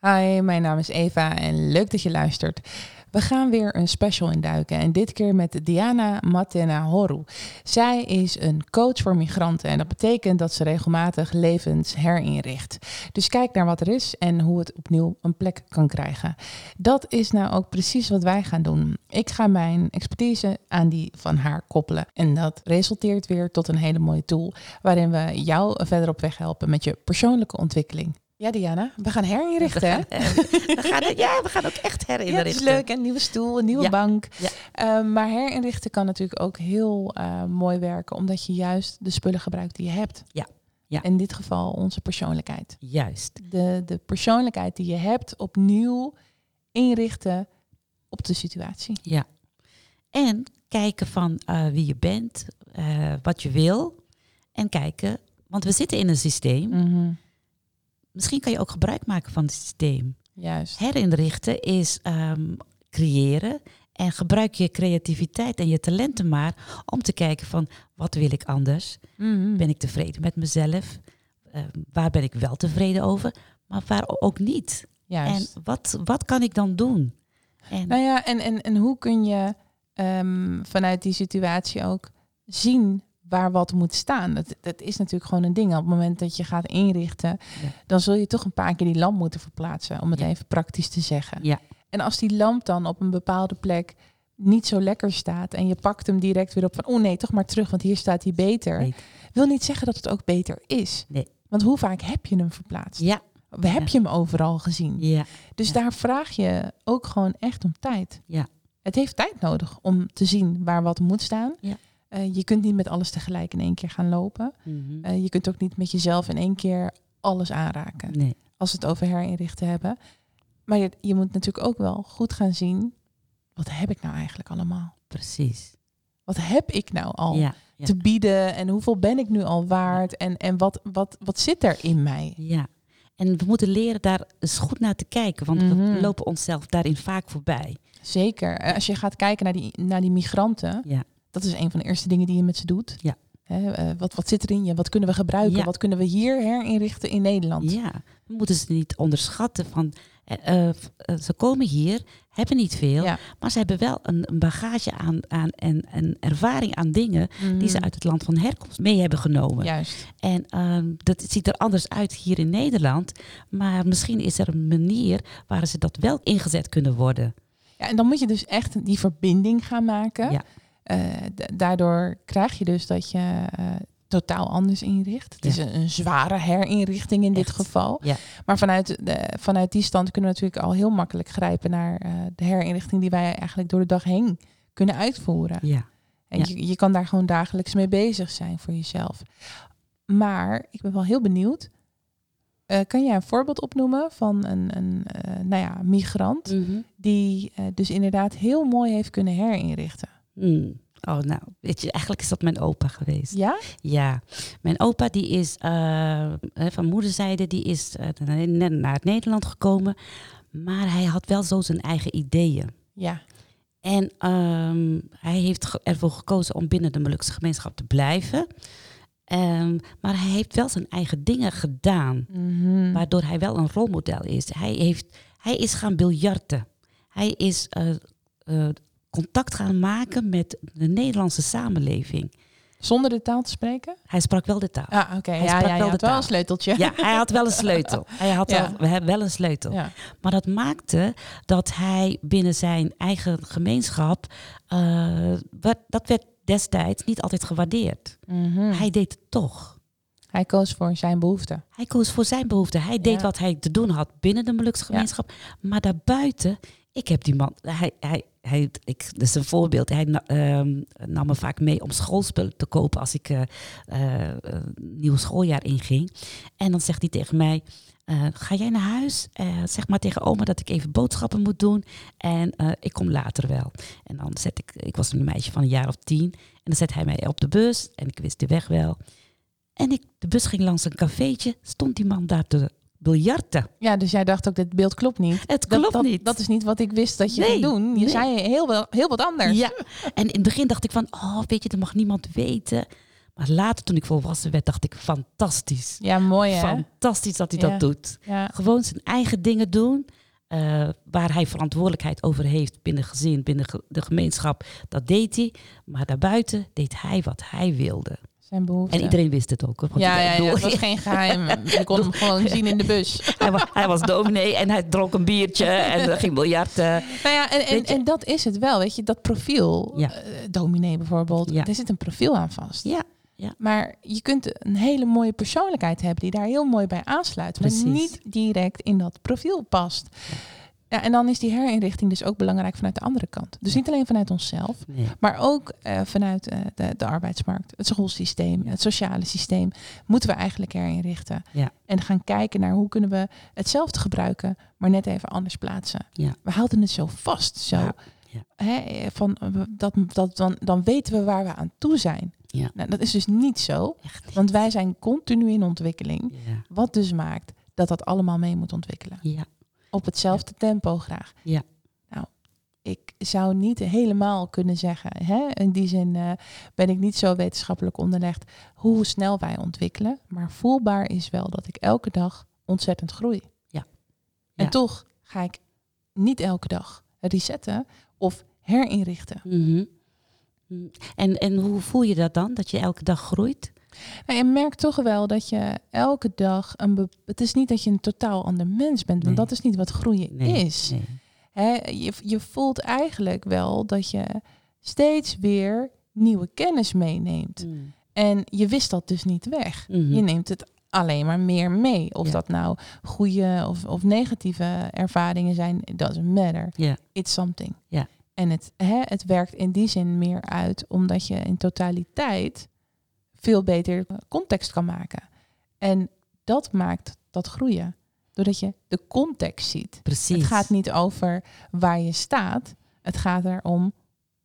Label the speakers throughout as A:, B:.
A: Hi, mijn naam is Eva en leuk dat je luistert. We gaan weer een special induiken en dit keer met Diana Matena Horu. Zij is een coach voor migranten en dat betekent dat ze regelmatig levens herinricht. Dus kijk naar wat er is en hoe het opnieuw een plek kan krijgen. Dat is nou ook precies wat wij gaan doen. Ik ga mijn expertise aan die van haar koppelen en dat resulteert weer tot een hele mooie tool waarin we jou verder op weg helpen met je persoonlijke ontwikkeling. Ja, Diana, we gaan herinrichten. hè?
B: We gaan het, ja, we gaan ook echt
A: Ja,
B: herinneren.
A: het is leuk. Een nieuwe stoel, een nieuwe
B: Ja.
A: bank.
B: Ja.
A: Eh, maar herinrichten kan natuurlijk ook heel eh, mooi werken, omdat je juist de spullen gebruikt die je hebt.
B: Ja. Ja.
A: In dit geval onze persoonlijkheid.
B: Juist.
A: De, de persoonlijkheid die je hebt opnieuw inrichten op de situatie.
B: Ja. En kijken van eh, wie je bent, eh, wat je wil. En kijken, want we zitten in een systeem. Misschien kan je ook gebruik maken van het systeem.
A: Juist.
B: Herinrichten is ehm, creëren. En gebruik je creativiteit en je talenten maar om te kijken van wat wil ik anders?
A: Mhm.
B: Ben ik tevreden met mezelf? Eh, waar ben ik wel tevreden over? Maar waar ook niet?
A: Juist.
B: En wat, wat kan ik dan doen? En
A: Nou ja, en, en, en hoe kun je ehm, vanuit die situatie ook zien waar wat moet staan? Dat, dat is natuurlijk gewoon een ding. Op het moment dat je gaat inrichten,
B: Ja.
A: dan zul je toch een paar keer die lamp moeten verplaatsen, om het
B: Ja.
A: even praktisch te zeggen.
B: Ja.
A: En als die lamp dan op een bepaalde plek niet zo lekker staat en je pakt hem direct weer op van, oh nee, toch maar terug, want hier staat hij beter.
B: Nee.
A: Wil niet zeggen dat het ook beter is.
B: Nee.
A: Want hoe vaak heb je hem verplaatst?
B: ja,
A: Heb je hem overal gezien?
B: ja,
A: Dus
B: Ja.
A: daar vraag je ook gewoon echt om tijd.
B: Ja.
A: Het heeft tijd nodig om te zien waar wat moet staan.
B: Ja.
A: Eh, je kunt niet met alles tegelijk in één keer gaan lopen.
B: Mhm.
A: Eh, je kunt ook niet met jezelf in één keer alles aanraken.
B: nee,
A: Als we het over herinrichten hebben. Maar je, je moet natuurlijk ook wel goed gaan zien. Wat heb ik nou eigenlijk allemaal?
B: precies.
A: Wat heb ik nou al
B: Ja, ja,
A: te bieden? En hoeveel ben ik nu al waard? En, en wat, wat, wat zit er in mij?
B: ja. En we moeten leren daar eens goed naar te kijken, want
A: Mhm.
B: we lopen onszelf daarin vaak voorbij.
A: Zeker. Eh, Als je gaat kijken naar die, naar die migranten,
B: Ja.
A: dat is een van de eerste dingen die je met ze doet.
B: Ja.
A: Hè, eh, wat, wat zit er in je? Wat kunnen we gebruiken?
B: Ja.
A: Wat kunnen we hier herinrichten in Nederland?
B: Ja, we moeten ze niet onderschatten van, eh, eh, f- eh, ze komen hier, hebben niet veel,
A: Ja.
B: maar ze hebben wel een, een bagage aan, aan en en ervaring aan dingen die ze
A: Mhm.
B: uit het land van herkomst mee hebben genomen.
A: Juist.
B: En ehm, dat ziet er anders uit hier in Nederland. Maar misschien is er een manier waar ze dat wel ingezet kunnen worden.
A: Ja, en dan moet je dus echt die verbinding gaan maken.
B: Ja.
A: Eh, da- daardoor krijg je dus dat je eh, totaal anders inricht. Het
B: Ja.
A: is een, een zware herinrichting in dit
B: Echt.
A: geval.
B: Ja.
A: Maar vanuit, de, vanuit die stand kunnen we natuurlijk al heel makkelijk grijpen naar eh, de herinrichting die wij eigenlijk door de dag heen kunnen uitvoeren.
B: Ja.
A: En
B: Ja.
A: je, je kan daar gewoon dagelijks mee bezig zijn voor jezelf. Maar ik ben wel heel benieuwd. Eh, kan jij een voorbeeld opnoemen van een, een eh, nou ja, migrant die eh, dus inderdaad heel mooi heeft kunnen herinrichten?
B: Hmm. Oh, nou, weet je, eigenlijk is dat mijn opa geweest.
A: Ja?
B: Ja, mijn opa die is eh, hè, van moederzijde, die is eh, naar- naar het Nederland gekomen. Maar hij had wel zo zijn eigen ideeën.
A: Ja.
B: En ehm, hij heeft ge- ervoor gekozen om binnen de Molukse gemeenschap te blijven. Ehm, maar hij heeft wel zijn eigen dingen gedaan.
A: Mhm.
B: waardoor hij wel een rolmodel is. Hij, heeft, hij is gaan biljarten. Hij is eh, eh, contact gaan maken met de Nederlandse samenleving.
A: Zonder de taal te spreken?
B: Hij sprak wel de taal.
A: Ah, oké.
B: Hij
A: Ja,
B: sprak
A: ja, je
B: wel de
A: had wel
B: taal.
A: een sleuteltje.
B: Ja, hij had wel een sleutel. Hij had
A: Ja.
B: wel, we hebben wel een sleutel.
A: Ja.
B: Maar dat maakte dat hij binnen zijn eigen gemeenschap... eh, werd, dat werd destijds niet altijd gewaardeerd.
A: Mhm. hij,
B: Hij deed het toch.
A: koos voor zijn behoeften.
B: Hij koos voor zijn behoeften. Hij deed
A: Ja.
B: wat hij te doen had binnen de Molukse gemeenschap. Maar daarbuiten, ik heb die man, hij, hij, hij, ik, dat is een voorbeeld. Hij na- ehm, nam me vaak mee om schoolspullen te kopen als ik eh eh, een nieuw schooljaar inging. En dan zegt hij tegen mij, eh, ga jij naar huis? Eh, zeg maar tegen oma dat ik even boodschappen moet doen. En eh, ik kom later wel. En dan zet ik, ik was een meisje van een jaar of tien. En dan zet hij mij op de bus en ik wist de weg wel. En ik, de bus ging langs een cafeetje, stond die man daar te biljarten.
A: Ja, dus jij dacht ook, dit beeld klopt niet.
B: Het
A: Dat-
B: klopt
A: dat,
B: niet.
A: Dat is niet wat ik wist dat je
B: Nee,
A: ging doen. Je
B: nee.
A: zei heel, wel, heel wat anders.
B: ja. En in het begin dacht ik van, oh weet je, dat mag niemand weten. Maar later, toen ik volwassen werd, dacht ik fantastisch.
A: Ja, mooi hè?
B: Fantastisch dat hij
A: Ja.
B: dat doet.
A: Ja.
B: Gewoon zijn eigen dingen doen. eh, waar hij verantwoordelijkheid over heeft binnen gezin, binnen ge- de gemeenschap. Dat deed hij. Maar daarbuiten deed hij wat hij wilde.
A: Zijn behoeften.
B: En iedereen wist het ook. hoor, want
A: ja, ja,
B: iedereen
A: ja, het
B: door-
A: was geen geheim. Je kon hem gewoon zien in de bus.
B: hij, was, hij was dominee en hij dronk een biertje en er ging biljarten.
A: Nou ja, en, en,
B: Weet je-
A: en dat is het wel, weet je. Dat profiel,
B: Ja.
A: eh, dominee bijvoorbeeld,
B: Ja.
A: daar zit een profiel aan vast.
B: Ja,
A: Maar je kunt een hele mooie persoonlijkheid hebben die daar heel mooi bij aansluit, maar
B: Precies.
A: niet direct in dat profiel past. Ja, en dan is die herinrichting dus ook belangrijk vanuit de andere kant. Dus niet alleen vanuit onszelf,
B: nee.
A: maar ook eh, vanuit eh, de, de arbeidsmarkt, het schoolsysteem, het sociale systeem, moeten we eigenlijk herinrichten.
B: Ja.
A: En gaan kijken naar hoe kunnen we hetzelfde gebruiken, maar net even anders plaatsen.
B: Ja.
A: We houden het zo vast, zo.
B: Ja, ja.
A: Hè, eh, van, eh, we- dat, dat, dan, dan weten we waar we aan toe zijn.
B: Ja.
A: Nou, dat is dus niet zo,
B: echt niet.
A: want wij zijn continu in ontwikkeling.
B: Ja.
A: Wat dus maakt dat dat allemaal mee moet ontwikkelen
B: ja,
A: op hetzelfde tempo graag.
B: Ja.
A: Nou, ik zou niet helemaal kunnen zeggen, hè? in die zin eh, ben ik niet zo wetenschappelijk onderlegd hoe snel wij ontwikkelen, maar voelbaar is wel dat ik elke dag ontzettend groei.
B: Ja.
A: En
B: Ja.
A: toch ga ik niet elke dag resetten of herinrichten.
B: Mhm. Mm. En, en hoe voel je dat dan? Dat je elke dag groeit?
A: Nou, je merkt toch wel dat je elke dag een. be- Het is niet dat je een totaal ander mens bent, want
B: Nee.
A: dat is niet wat groeien
B: Nee,
A: is.
B: nee.
A: Hè, je, je voelt eigenlijk wel dat je steeds weer nieuwe kennis meeneemt.
B: Mm.
A: En je wist dat dus niet weg.
B: Mhm.
A: Je neemt het alleen maar meer mee. Of
B: Ja.
A: dat nou goede of, of negatieve ervaringen zijn, doesn't matter.
B: Ja.
A: It's something.
B: Ja.
A: En het, hè, het werkt in die zin meer uit, omdat je in totaliteit veel beter context kan maken. En dat maakt dat groeien. Doordat je de context ziet.
B: Precies.
A: Het gaat niet over waar je staat. Het gaat erom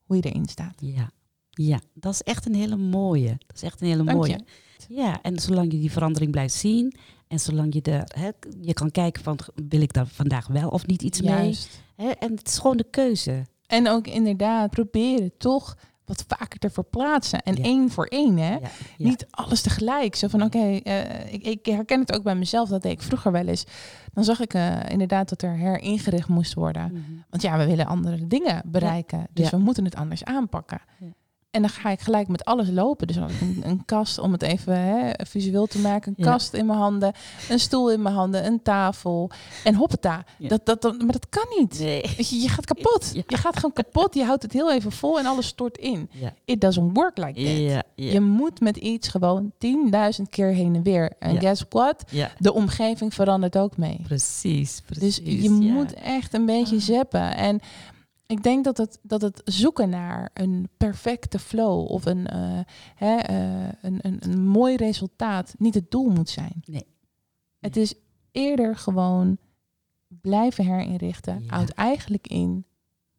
A: hoe je erin staat.
B: Ja. ja, dat is echt een hele mooie. Dat is echt een hele
A: Dank
B: mooie.
A: je.
B: Ja, en zolang je die verandering blijft zien en zolang je de, hè, je kan kijken van wil ik daar vandaag wel of niet iets mee.
A: Juist.
B: Hè, en het is gewoon de keuze.
A: En ook inderdaad proberen toch wat vaker te verplaatsen. En
B: Ja.
A: één voor één, hè?
B: Ja, ja.
A: Niet alles tegelijk. Zo van, oké, eh, ik, ik herken het ook bij mezelf. Dat deed ik vroeger wel eens. Dan zag ik eh, inderdaad dat er heringericht moest worden.
B: Mhm.
A: Want ja, we willen andere dingen bereiken. Dus
B: Ja.
A: we moeten het anders aanpakken.
B: Ja.
A: En dan ga ik gelijk met alles lopen. Dus dan had ik een, een kast, om het even hè, visueel te maken. Een
B: Ja.
A: kast in mijn handen, een stoel in mijn handen, een tafel. En hoppata.
B: Ja.
A: Dat, dat, dat, maar dat kan niet.
B: Nee.
A: Weet je, je gaat kapot.
B: Ja.
A: Je gaat gewoon kapot. Je houdt het heel even vol en alles stort in.
B: Ja.
A: It doesn't work like that.
B: Ja,
A: Je
B: ja,
A: moet met iets gewoon 10.000 keer heen en weer. En
B: Ja.
A: guess what?
B: ja.
A: De omgeving verandert ook mee.
B: Precies,
A: Dus
B: precies.
A: je
B: ja. Ah.
A: moet echt een beetje zeppen. En ik denk dat het, dat het zoeken naar een perfecte flow of een, eh, hè, eh, een, een, een mooi resultaat niet het doel moet zijn.
B: Nee.
A: Het is eerder gewoon blijven herinrichten.
B: Ja.
A: Houdt eigenlijk in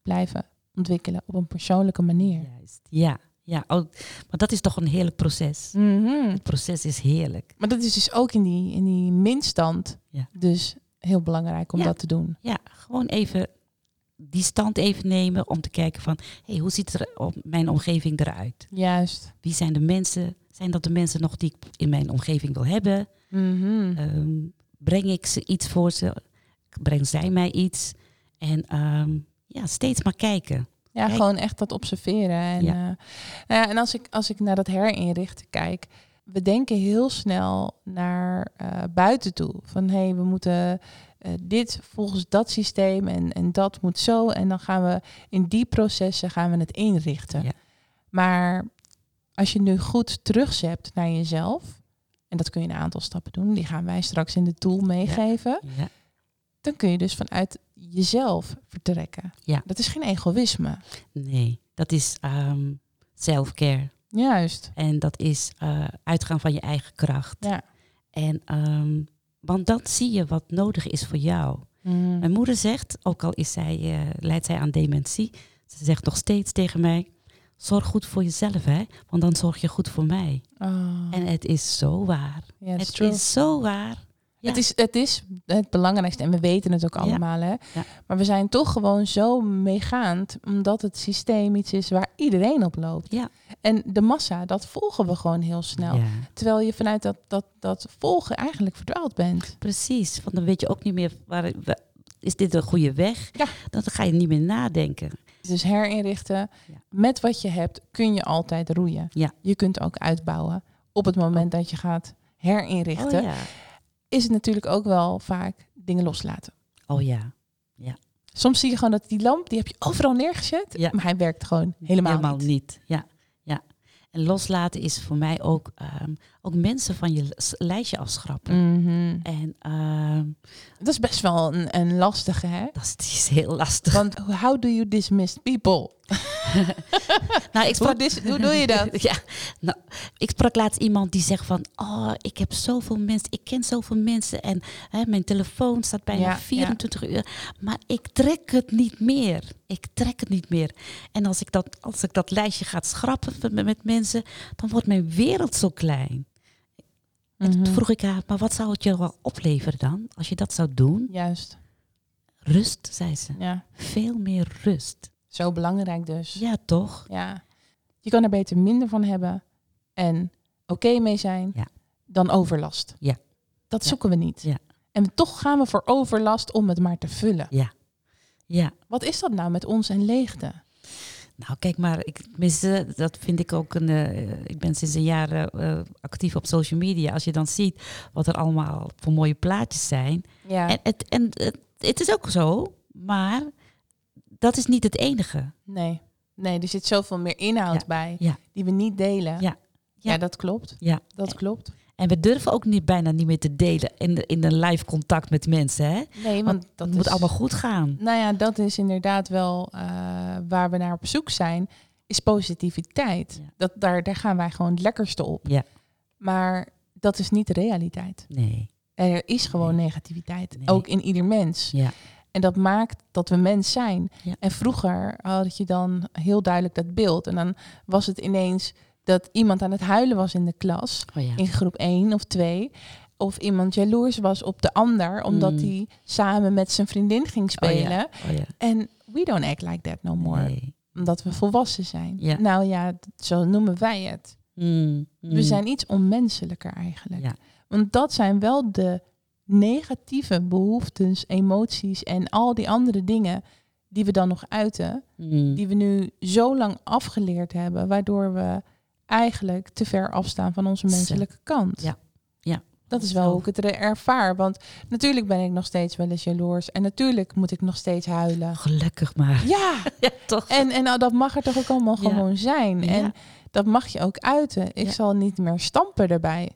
A: blijven ontwikkelen op een persoonlijke manier.
B: Juist. Ja, ja. Oh, maar dat is toch een heerlijk proces.
A: Mhm.
B: Het proces is heerlijk.
A: Maar dat is dus ook in die, in die minstand
B: Ja.
A: dus heel belangrijk om
B: Ja.
A: dat te doen.
B: Ja, gewoon even die stand even nemen om te kijken van... hey, hoe ziet er om- mijn omgeving eruit?
A: Juist.
B: Wie zijn de mensen? Zijn dat de mensen nog die ik in mijn omgeving wil hebben?
A: Mhm.
B: Ehm, breng ik ze iets voor ze? Breng zij mij iets? En ehm, ja, steeds maar kijken.
A: Ja,
B: Kijk.
A: gewoon echt dat observeren. En,
B: Ja.
A: eh, nou ja, en als ik, als ik naar dat herinrichten kijk, we denken heel snel naar eh, buiten toe. Van hé, hey, we moeten eh, dit volgens dat systeem en, en dat moet zo. En dan gaan we in die processen gaan we het inrichten.
B: Ja.
A: Maar als je nu goed terugzept naar jezelf, en dat kun je in een aantal stappen doen, die gaan wij straks in de tool meegeven
B: Ja,
A: dan kun je dus vanuit jezelf vertrekken.
B: Ja.
A: Dat is geen egoïsme.
B: nee, dat is ehm self-care.
A: Juist.
B: En dat is eh, uitgaan van je eigen kracht.
A: Ja.
B: En, ehm, want dan zie je wat nodig is voor jou. Mijn moeder zegt, ook al is zij, eh, leidt zij aan dementie, ze zegt nog steeds tegen mij: zorg goed voor jezelf, hè? Want dan zorg je goed voor mij.
A: Oh,
B: En het is zo waar.
A: ja, dat is
B: het
A: true.
B: is zo waar. Ja.
A: Het, is, het is het belangrijkste en we weten het ook allemaal. Hè?
B: Ja.
A: Maar we zijn toch gewoon zo meegaand omdat het systeem iets is waar iedereen op loopt.
B: Ja.
A: En de massa, dat volgen we gewoon heel snel.
B: Ja.
A: Terwijl je vanuit dat, dat, dat volgen eigenlijk verdwaald bent.
B: Precies, want dan weet je ook niet meer, waar, wa- is dit een goede weg?
A: Ja.
B: Dan ga je niet meer nadenken.
A: Dus herinrichten.
B: Ja.
A: Met wat je hebt kun je altijd roeien.
B: Ja.
A: Je kunt ook uitbouwen. Op het moment dat je gaat herinrichten,
B: Oh ja.
A: is het natuurlijk ook wel vaak dingen loslaten.
B: Oh ja.
A: Soms zie je gewoon dat die lamp, die heb je overal neergezet,
B: Ja.
A: maar hij werkt gewoon helemaal, niet.
B: Ja, ja. En loslaten is voor mij ook, ehm, ook mensen van je s- lijstje afschrappen.
A: Mhm.
B: En ehm,
A: Dat is best wel een, een lastige, hè?
B: dat is, die is heel lastig.
A: Want how do you dismiss people?
B: nou,
A: Hoe,
B: ik sprak,
A: dis- hoe doe je dat?
B: ja, nou, ik sprak laatst iemand die zegt van, oh, ik heb zoveel mensen, ik ken zoveel mensen en hè, mijn telefoon staat bijna
A: Ja, ja.
B: 24 uur, maar ik trek het niet meer. Ik trek het niet meer. En als ik dat, als ik dat lijstje ga schrappen met, met mensen, dan wordt mijn wereld zo klein. En toen
A: Mhm.
B: vroeg ik haar, maar wat zou het je wel opleveren dan? Als je dat zou doen?
A: Juist,
B: Rust, zei ze.
A: ja.
B: Veel meer rust.
A: Zo belangrijk dus.
B: Ja, toch?
A: Ja. Je kan er beter minder van hebben en oké mee zijn
B: Ja.
A: dan overlast.
B: Ja.
A: Dat
B: Ja.
A: zoeken we niet.
B: Ja.
A: En toch gaan we voor overlast om het maar te vullen.
B: Ja.
A: Wat is dat nou met ons en leegte?
B: Nou, kijk maar, ik, tenminste, dat vind ik ook een. eh, ik ben sinds een jaar eh, eh, actief op social media. Als je dan ziet wat er allemaal voor mooie plaatjes zijn.
A: Ja.
B: En, het, en het, het is ook zo, maar dat is niet het enige.
A: nee. Nee, er zit zoveel meer inhoud
B: Ja.
A: bij
B: Ja.
A: die we niet delen.
B: Ja.
A: Ja,
B: Ja.
A: dat klopt.
B: Ja.
A: Dat klopt.
B: En we durven ook niet, bijna niet meer te delen in, de- in een live contact met mensen. Hè?
A: Nee, want,
B: Want
A: dat
B: het moet
A: is-
B: allemaal goed gaan.
A: Nou ja, dat is inderdaad wel eh, waar we naar op zoek zijn, is positiviteit.
B: Ja.
A: Dat, daar, daar gaan wij gewoon het lekkerste op.
B: Ja.
A: Maar dat is niet de realiteit.
B: Nee.
A: Er is gewoon negativiteit,
B: Nee.
A: ook in ieder mens.
B: Ja.
A: En dat maakt dat we mens zijn.
B: Ja.
A: En vroeger had je dan heel duidelijk dat beeld. En dan was het ineens dat iemand aan het huilen was in de klas,
B: Oh ja.
A: in groep 1 of 2. Of iemand jaloers was op de ander, omdat
B: Mm.
A: hij samen met zijn vriendin ging
B: Oh ja.
A: spelen.
B: Oh ja.
A: En we don't act like that no more.
B: Nee.
A: Omdat we volwassen zijn.
B: Ja.
A: Nou ja, d- zo noemen wij het.
B: Mm,
A: We
B: mm.
A: zijn iets onmenselijker eigenlijk.
B: Ja.
A: Want dat zijn wel de negatieve behoeftes, emoties en al die andere dingen die we dan nog uiten.
B: Mm.
A: Die we nu zo lang afgeleerd hebben, waardoor we eigenlijk te ver afstaan van onze
B: Zo.
A: menselijke kant.
B: Ja. Ja.
A: Dat is wel hoe ik het er- ervaar. Want natuurlijk ben ik nog steeds wel eens jaloers. En natuurlijk moet ik nog steeds huilen.
B: Gelukkig maar.
A: Ja,
B: Ja, toch?
A: En, en nou, dat mag er toch ook allemaal
B: Ja.
A: gewoon zijn.
B: Ja.
A: En dat mag je ook uiten. Ik
B: Ja.
A: zal niet meer stampen erbij.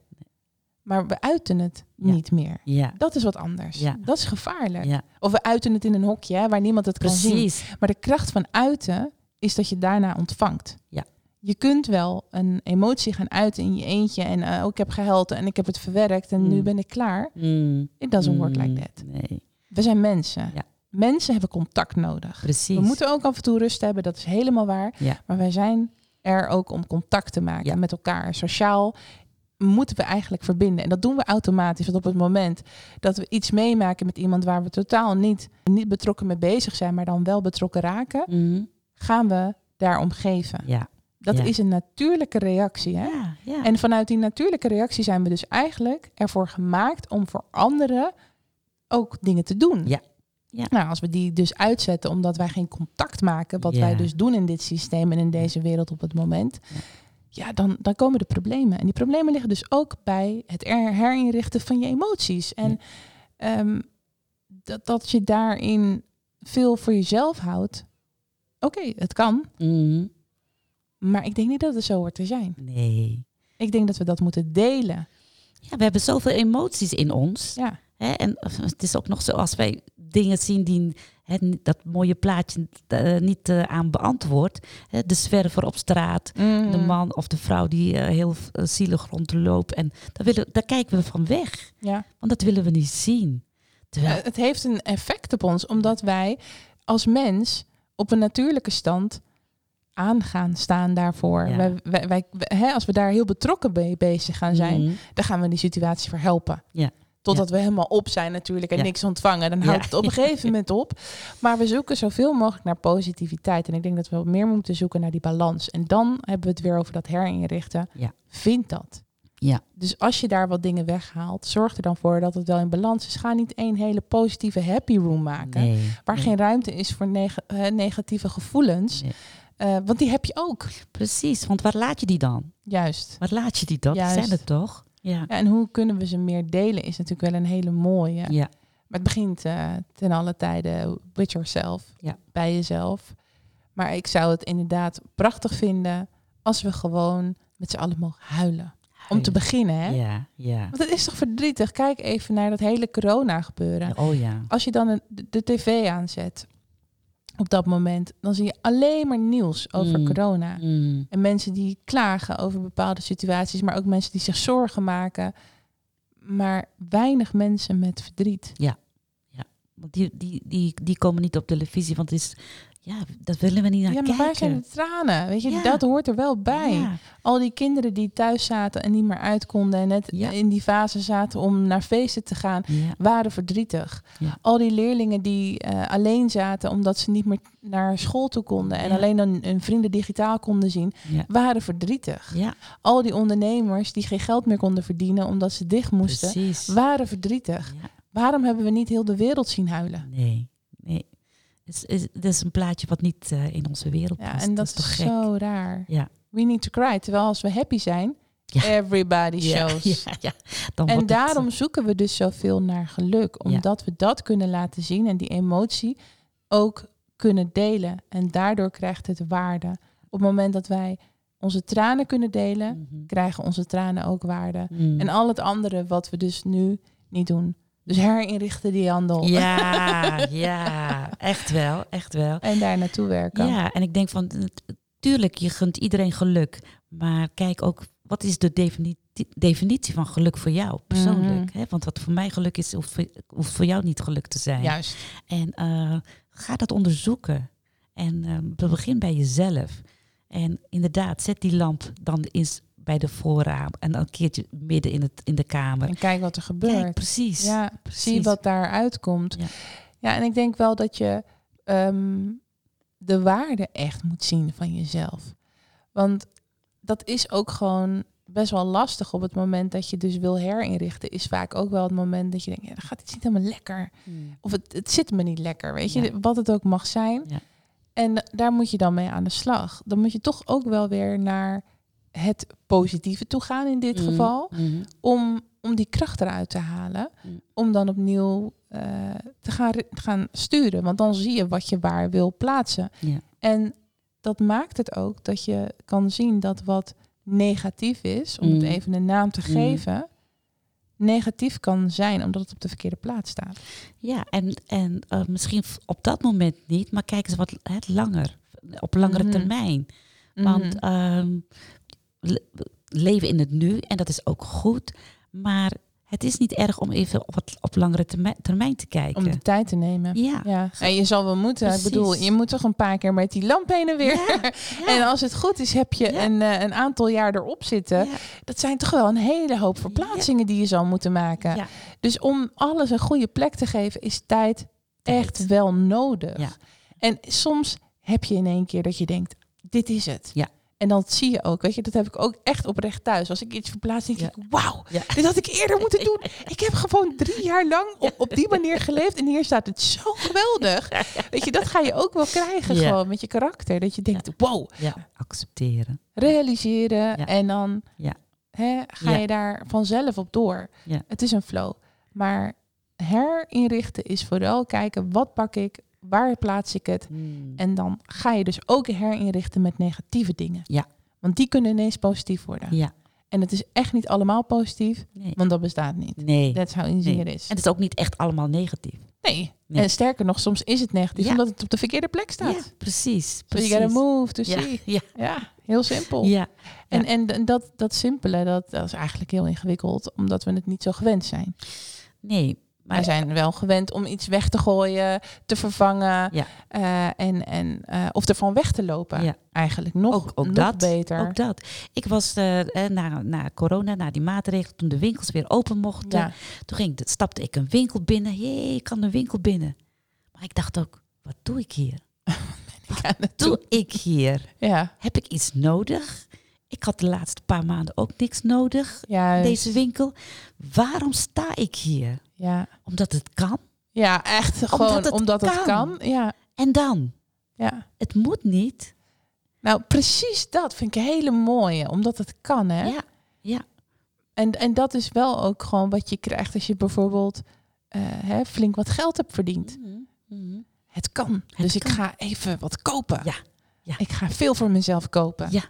A: Maar we uiten het
B: Ja.
A: niet meer.
B: Ja,
A: Dat is wat anders.
B: Ja.
A: Dat is gevaarlijk.
B: ja.
A: Of we uiten het in een hokje hè, waar niemand het kan zien.
B: precies.
A: Maar de kracht van uiten is dat je daarna ontvangt.
B: Ja.
A: Je kunt wel een emotie gaan uiten in je eentje. En eh, oh, ik heb gehuild en ik heb het verwerkt en nu
B: Mm.
A: ben ik klaar.
B: Mm.
A: It doesn't work like
B: Mm,
A: that.
B: Nee,
A: We zijn mensen.
B: Ja.
A: Mensen hebben contact nodig.
B: precies.
A: We moeten ook af en toe rust hebben, dat is helemaal waar.
B: Ja.
A: Maar wij zijn er ook om contact te maken
B: Ja.
A: met elkaar. Sociaal moeten we eigenlijk verbinden. En dat doen we automatisch. Want op het moment dat we iets meemaken met iemand waar we totaal niet, niet betrokken mee bezig zijn, maar dan wel betrokken raken,
B: Mhm.
A: gaan we daarom geven.
B: Ja.
A: Dat
B: Ja.
A: is een natuurlijke reactie. Hè?
B: Ja, ja.
A: En vanuit die natuurlijke reactie zijn we dus eigenlijk ervoor gemaakt om voor anderen ook dingen te doen.
B: Ja. Ja.
A: Nou, als we die dus uitzetten omdat wij geen contact maken, wat
B: Ja.
A: wij dus doen in dit systeem en in deze wereld op het moment, ja, dan, dan komen de problemen. En die problemen liggen dus ook bij het her- herinrichten van je emoties. En
B: Ja.
A: ehm, dat, dat je daarin veel voor jezelf houdt, oké, het kan,
B: Mhm.
A: maar ik denk niet dat het zo hoort te zijn.
B: Nee.
A: Ik denk dat we dat moeten delen.
B: Ja, we hebben zoveel emoties in ons.
A: Ja.
B: Hè? En het is ook nog zo, als wij dingen zien die hè, niet- dat mooie plaatje eh, niet eh, aan beantwoord. Hè? De zwerver op straat, de
A: Mm.
B: man of de vrouw die eh, heel eh, zielig rondloopt. En daar, willen, daar kijken we van weg,
A: Ja. Eh,
B: want dat willen we niet zien. Terwijl,
A: Het heeft een effect op ons, omdat wij als mens op een natuurlijke stand aan gaan staan daarvoor.
B: Ja.
A: Wij, wij, wij- wij- hè, als we daar heel betrokken mee bezig gaan zijn,
B: Mhm.
A: dan gaan we die situatie verhelpen.
B: Ja.
A: Totdat we helemaal op zijn natuurlijk en
B: Ja.
A: niks ontvangen. Dan houdt
B: Ja.
A: het op een gegeven moment op. Maar we zoeken zoveel mogelijk naar positiviteit. En ik denk dat we wat meer moeten zoeken naar die balans. En dan hebben we het weer over dat herinrichten.
B: Ja.
A: Vind dat.
B: Ja.
A: Dus als je daar wat dingen weghaalt, zorg er dan voor dat het wel in balans is. Ga niet één hele positieve happy room maken.
B: Nee,
A: Waar
B: nee.
A: geen ruimte is voor neg- eh, negatieve gevoelens.
B: Nee.
A: Eh, want die heb je ook.
B: Precies, want waar laat je die dan?
A: Juist.
B: Waar laat je die dan? Die
A: Juist.
B: zijn het toch? Ja.
A: Ja, en hoe kunnen we ze meer delen is natuurlijk wel een hele mooie.
B: Ja.
A: Maar het begint eh, ten alle tijde with yourself,
B: Ja.
A: bij jezelf. Maar ik zou het inderdaad prachtig vinden als we gewoon met z'n allen mogen huilen. Om te
B: Huilen.
A: beginnen, hè?
B: Ja, ja.
A: Want het is toch verdrietig? Kijk even naar dat hele corona gebeuren.
B: Oh ja.
A: Als je dan een- de, de tv aanzet op dat moment, dan zie je alleen maar nieuws over
B: Mm.
A: corona.
B: Mm.
A: En mensen die klagen over bepaalde situaties, maar ook mensen die zich zorgen maken. Maar weinig mensen met verdriet.
B: Want die, die, die, die komen niet op televisie, want het is, ja, dat willen we niet naar
A: ja, maar
B: kijken.
A: waar zijn de tranen? Weet je,
B: Ja.
A: dat hoort er wel bij.
B: Ja,
A: Al die kinderen die thuis zaten en niet meer uit konden en net
B: Ja.
A: in die fase zaten om naar feesten te gaan,
B: ja,
A: waren verdrietig.
B: Ja.
A: Al die leerlingen die eh, alleen zaten omdat ze niet meer naar school toe konden en
B: Ja.
A: alleen dan hun vrienden digitaal konden zien,
B: ja.
A: waren verdrietig.
B: Ja,
A: Al die ondernemers die geen geld meer konden verdienen omdat ze dicht moesten,
B: precies.
A: waren verdrietig.
B: Ja,
A: Waarom hebben we niet heel de wereld zien huilen?
B: nee, nee. Het is, is, het is een plaatje wat niet eh, in onze wereld past.
A: Ja, en dat,
B: toch
A: is
B: gek?
A: zo raar.
B: Ja.
A: We need to cry. Terwijl als we happy zijn,
B: Ja.
A: everybody
B: Ja,
A: shows.
B: ja, ja. Dan wordt
A: En
B: het,
A: daarom zoeken we dus zoveel naar geluk.
B: Ja.
A: Omdat we dat kunnen laten zien en die emotie ook kunnen delen. En daardoor krijgt het waarde. Op het moment dat wij onze tranen kunnen
B: eh,
A: delen,
B: mhm.
A: krijgen onze tranen ook waarde.
B: Mm.
A: En al het andere wat we dus nu niet doen. Dus herinrichten die handel
B: Ja, ja, echt wel, echt wel.
A: en daar naartoe werken.
B: Ja, en ik denk van, eh, tuurlijk, je gunt iedereen geluk. Maar kijk ook, wat is de defini- definitie van geluk voor jou persoonlijk?
A: Mhm.
B: hè? Want wat voor mij geluk is, hoeft voor, hoeft voor jou niet geluk te zijn.
A: Juist.
B: En eh, ga dat onderzoeken. En eh, begin bij jezelf. En inderdaad, zet die lamp dan eens bij de voorraam. En een keertje midden in, het, in de kamer.
A: En kijk wat er gebeurt.
B: Kijk, precies.
A: ja,
B: precies.
A: zie wat daaruit komt.
B: Ja.
A: Ja. en ik denk wel dat je ehm, de waarde echt moet zien van jezelf. Want dat is ook gewoon best wel lastig op het moment dat je dus wil herinrichten. Is vaak ook wel het moment dat je denkt, ja, dat gaat iets niet helemaal lekker.
B: Hmm.
A: Of het, het zit me niet lekker, weet je,
B: Ja.
A: wat het ook mag zijn.
B: Ja.
A: En daar moet je dan mee aan de slag. Dan moet je toch ook wel weer naar het positieve toe gaan in dit
B: Mhm.
A: geval
B: Mhm.
A: om, om die kracht eruit te halen.
B: Mm.
A: Om dan opnieuw eh, te gaan, re- gaan sturen. Want dan zie je wat je waar wil plaatsen.
B: Ja.
A: En dat maakt het ook dat je kan zien dat wat negatief is, om het
B: Mm.
A: even een naam te
B: Mm.
A: geven, negatief kan zijn omdat het op de verkeerde plaats staat.
B: Ja, en, en eh, misschien f- op dat moment niet, maar kijk eens wat hè, langer, op langere
A: Mhm.
B: termijn.
A: Mhm.
B: Want ehm, le- leven in het nu, en dat is ook goed, maar het is niet erg om even op, wat- op langere termijn, termijn te kijken.
A: om de tijd te nemen.
B: ja.
A: Ja. En je zal wel moeten. Ik bedoel,
B: Precies.
A: je moet toch een paar keer met die lamp heen en weer.
B: Ja.
A: En als het goed is, heb je
B: Ja.
A: een, eh, een aantal jaar erop zitten.
B: Ja.
A: dat zijn toch wel een hele hoop verplaatsingen die je zal moeten maken.
B: Ja.
A: Dus om alles een goede plek te geven, is tijd,
B: Tijd.
A: echt wel nodig.
B: Ja.
A: En soms heb je in één keer dat je denkt, dit is het.
B: Ja.
A: En dat zie je ook, weet je, dat heb ik ook echt oprecht thuis. Als ik iets verplaats, denk
B: Ja.
A: ik, wauw,
B: Ja.
A: dit had ik eerder moeten doen. Ik heb gewoon drie jaar lang op, op die manier geleefd en hier staat het zo geweldig. Weet je, dat ga je ook wel krijgen
B: Ja.
A: gewoon met je karakter. Dat je denkt, wow,
B: Ja, accepteren.
A: realiseren
B: Ja.
A: en dan
B: Ja.
A: hè, ga
B: Ja.
A: je daar vanzelf op door.
B: Ja.
A: Het is een flow. Maar herinrichten is vooral kijken wat pak ik, waar plaats ik het.
B: Hmm.
A: En dan ga je dus ook herinrichten met negatieve dingen.
B: Ja.
A: Want die kunnen ineens positief worden.
B: Ja,
A: En het is echt niet allemaal positief,
B: nee.
A: want dat bestaat niet.
B: nee. En
A: That's how easy it is.
B: het is ook niet echt allemaal negatief.
A: Nee.
B: Nee.
A: En sterker nog, soms is het negatief
B: Ja.
A: omdat het op de verkeerde plek staat.
B: Ja, precies.
A: So
B: precies.
A: you gotta move to
B: ja,
A: see.
B: ja,
A: Ja, heel simpel.
B: ja.
A: En, en d- dat, dat simpele, dat, dat is eigenlijk heel ingewikkeld, omdat we het niet zo gewend zijn.
B: Nee,
A: Wij zijn wel gewend om iets weg te gooien, te vervangen
B: Ja.
A: eh, en, en, eh, of ervan weg te lopen.
B: Ja.
A: Eigenlijk nog,
B: Ook- ook
A: nog
B: dat.
A: beter.
B: Ook dat. Ik was eh, eh, na, na corona, na die maatregelen, toen de winkels weer open mochten.
A: Ja.
B: Toen ging, ik- stapte ik een winkel binnen. Jee, ik kan een winkel binnen. Maar ik dacht ook, wat doe ik hier?
A: Ja, natuurlijk.
B: Doe ik hier?
A: ja,
B: Heb ik iets nodig? Ik had de laatste paar maanden ook niks nodig. in
A: juist.
B: Deze winkel. Waarom sta ik hier?
A: Ja.
B: Omdat het kan.
A: ja, echt gewoon omdat het, kan. Ja,
B: En dan?
A: ja.
B: Het moet niet.
A: Nou, precies dat vind ik een hele mooie, omdat het kan. Hè?
B: Ja. Ja.
A: En, en dat is wel ook gewoon wat je krijgt als je bijvoorbeeld eh, hè, flink wat geld hebt verdiend.
B: Mm-hmm.
A: Het kan. dus ik
B: kan.
A: ga even wat kopen.
B: Ja, ja.
A: Ik ga veel voor mezelf kopen.
B: Ja,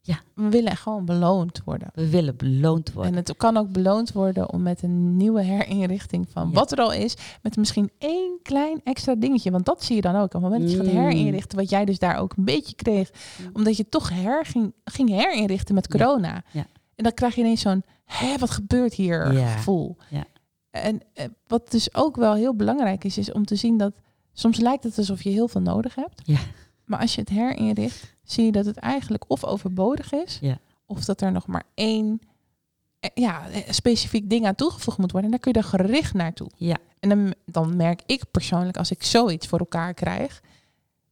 B: ja.
A: We willen gewoon beloond worden.
B: We willen beloond worden.
A: En het kan ook beloond worden om met een nieuwe herinrichting van
B: Ja.
A: wat er al is, met misschien één klein extra dingetje. Want dat zie je dan ook. Op het moment dat je gaat
B: Mm.
A: herinrichten, wat jij dus daar ook een beetje kreeg, omdat je toch her ging, ging herinrichten met
B: Ja.
A: corona.
B: Ja.
A: En dan krijg je ineens zo'n, hé, wat gebeurt hier
B: Ja.
A: gevoel.
B: Ja.
A: En eh, wat dus ook wel heel belangrijk is, is om te zien dat soms lijkt het alsof je heel veel nodig hebt.
B: Ja.
A: Maar als je het herinricht, zie je dat het eigenlijk of overbodig is,
B: Ja.
A: of dat er nog maar één eh, ja, eh, specifiek ding aan toegevoegd moet worden. En daar kun je er gericht naartoe.
B: Ja.
A: En dan, dan merk ik persoonlijk, als ik zoiets voor elkaar krijg,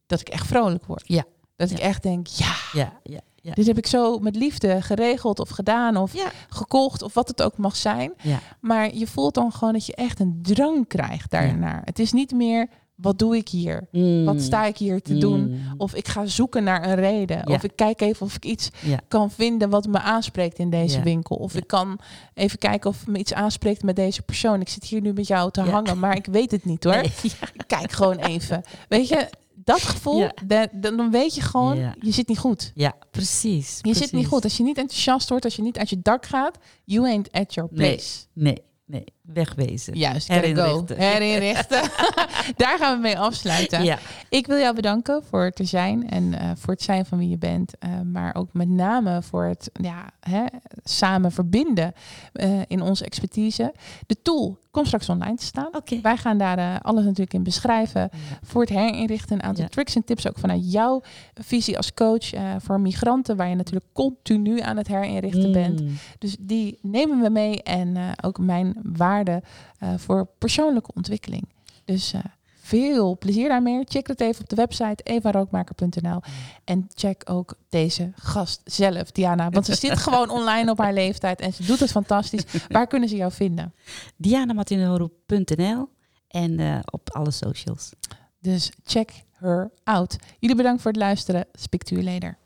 A: dat ik echt vrolijk word.
B: Ja.
A: Dat ik
B: Ja.
A: echt denk, ja,
B: Ja, ja, ja.
A: dit heb ik zo met liefde geregeld of gedaan of
B: Ja.
A: gekocht of wat het ook mag zijn.
B: Ja.
A: Maar je voelt dan gewoon dat je echt een drang krijgt daarnaar. Het is niet meer, wat doe ik hier?
B: Mm.
A: Wat sta ik hier te doen? Of ik ga zoeken naar een reden.
B: Ja.
A: Of ik kijk even of ik iets
B: Ja.
A: kan vinden wat me aanspreekt in deze
B: Ja.
A: winkel. Of
B: Ja.
A: ik kan even kijken of me iets aanspreekt met deze persoon. Ik zit hier nu met jou te
B: Ja.
A: hangen, maar ik weet het niet hoor. Ik kijk gewoon even. Weet je, dat gevoel,
B: Ja.
A: da- dan, dan weet je gewoon,
B: Ja.
A: je zit niet goed.
B: Ja, precies.
A: Je zit niet goed. Als je niet enthousiast wordt, als je niet uit je dak gaat, you ain't at your
B: Nee.
A: place.
B: Nee, nee. Wegwezen.
A: Juist, gotta go.
B: Herinrichten.
A: Herinrichten. Daar gaan we mee afsluiten.
B: Ja.
A: Ik wil jou bedanken voor het te zijn en eh, voor het zijn van wie je bent. eh, maar ook met name voor het ja, hè, samen verbinden eh, in onze expertise. De tool komt straks online te staan.
B: Oké.
A: Wij gaan daar eh, alles natuurlijk in beschrijven. Voor het herinrichten, een aantal
B: Ja.
A: tricks en tips ook vanuit jouw visie als coach eh, voor migranten, waar je natuurlijk continu aan het herinrichten bent.
B: Mm.
A: Dus die nemen we mee en eh, ook mijn waarde eh, voor persoonlijke ontwikkeling. Dus eh, veel plezier daarmee. Check het even op de website evarookmaker.nl. En check ook deze gast zelf, Diana. Want ze zit gewoon online op haar leeftijd en ze doet het fantastisch. Waar kunnen ze jou vinden?
B: DianaMartinero.nl en eh, op alle socials.
A: Dus check her out. Jullie bedankt voor het luisteren. Speak to you later.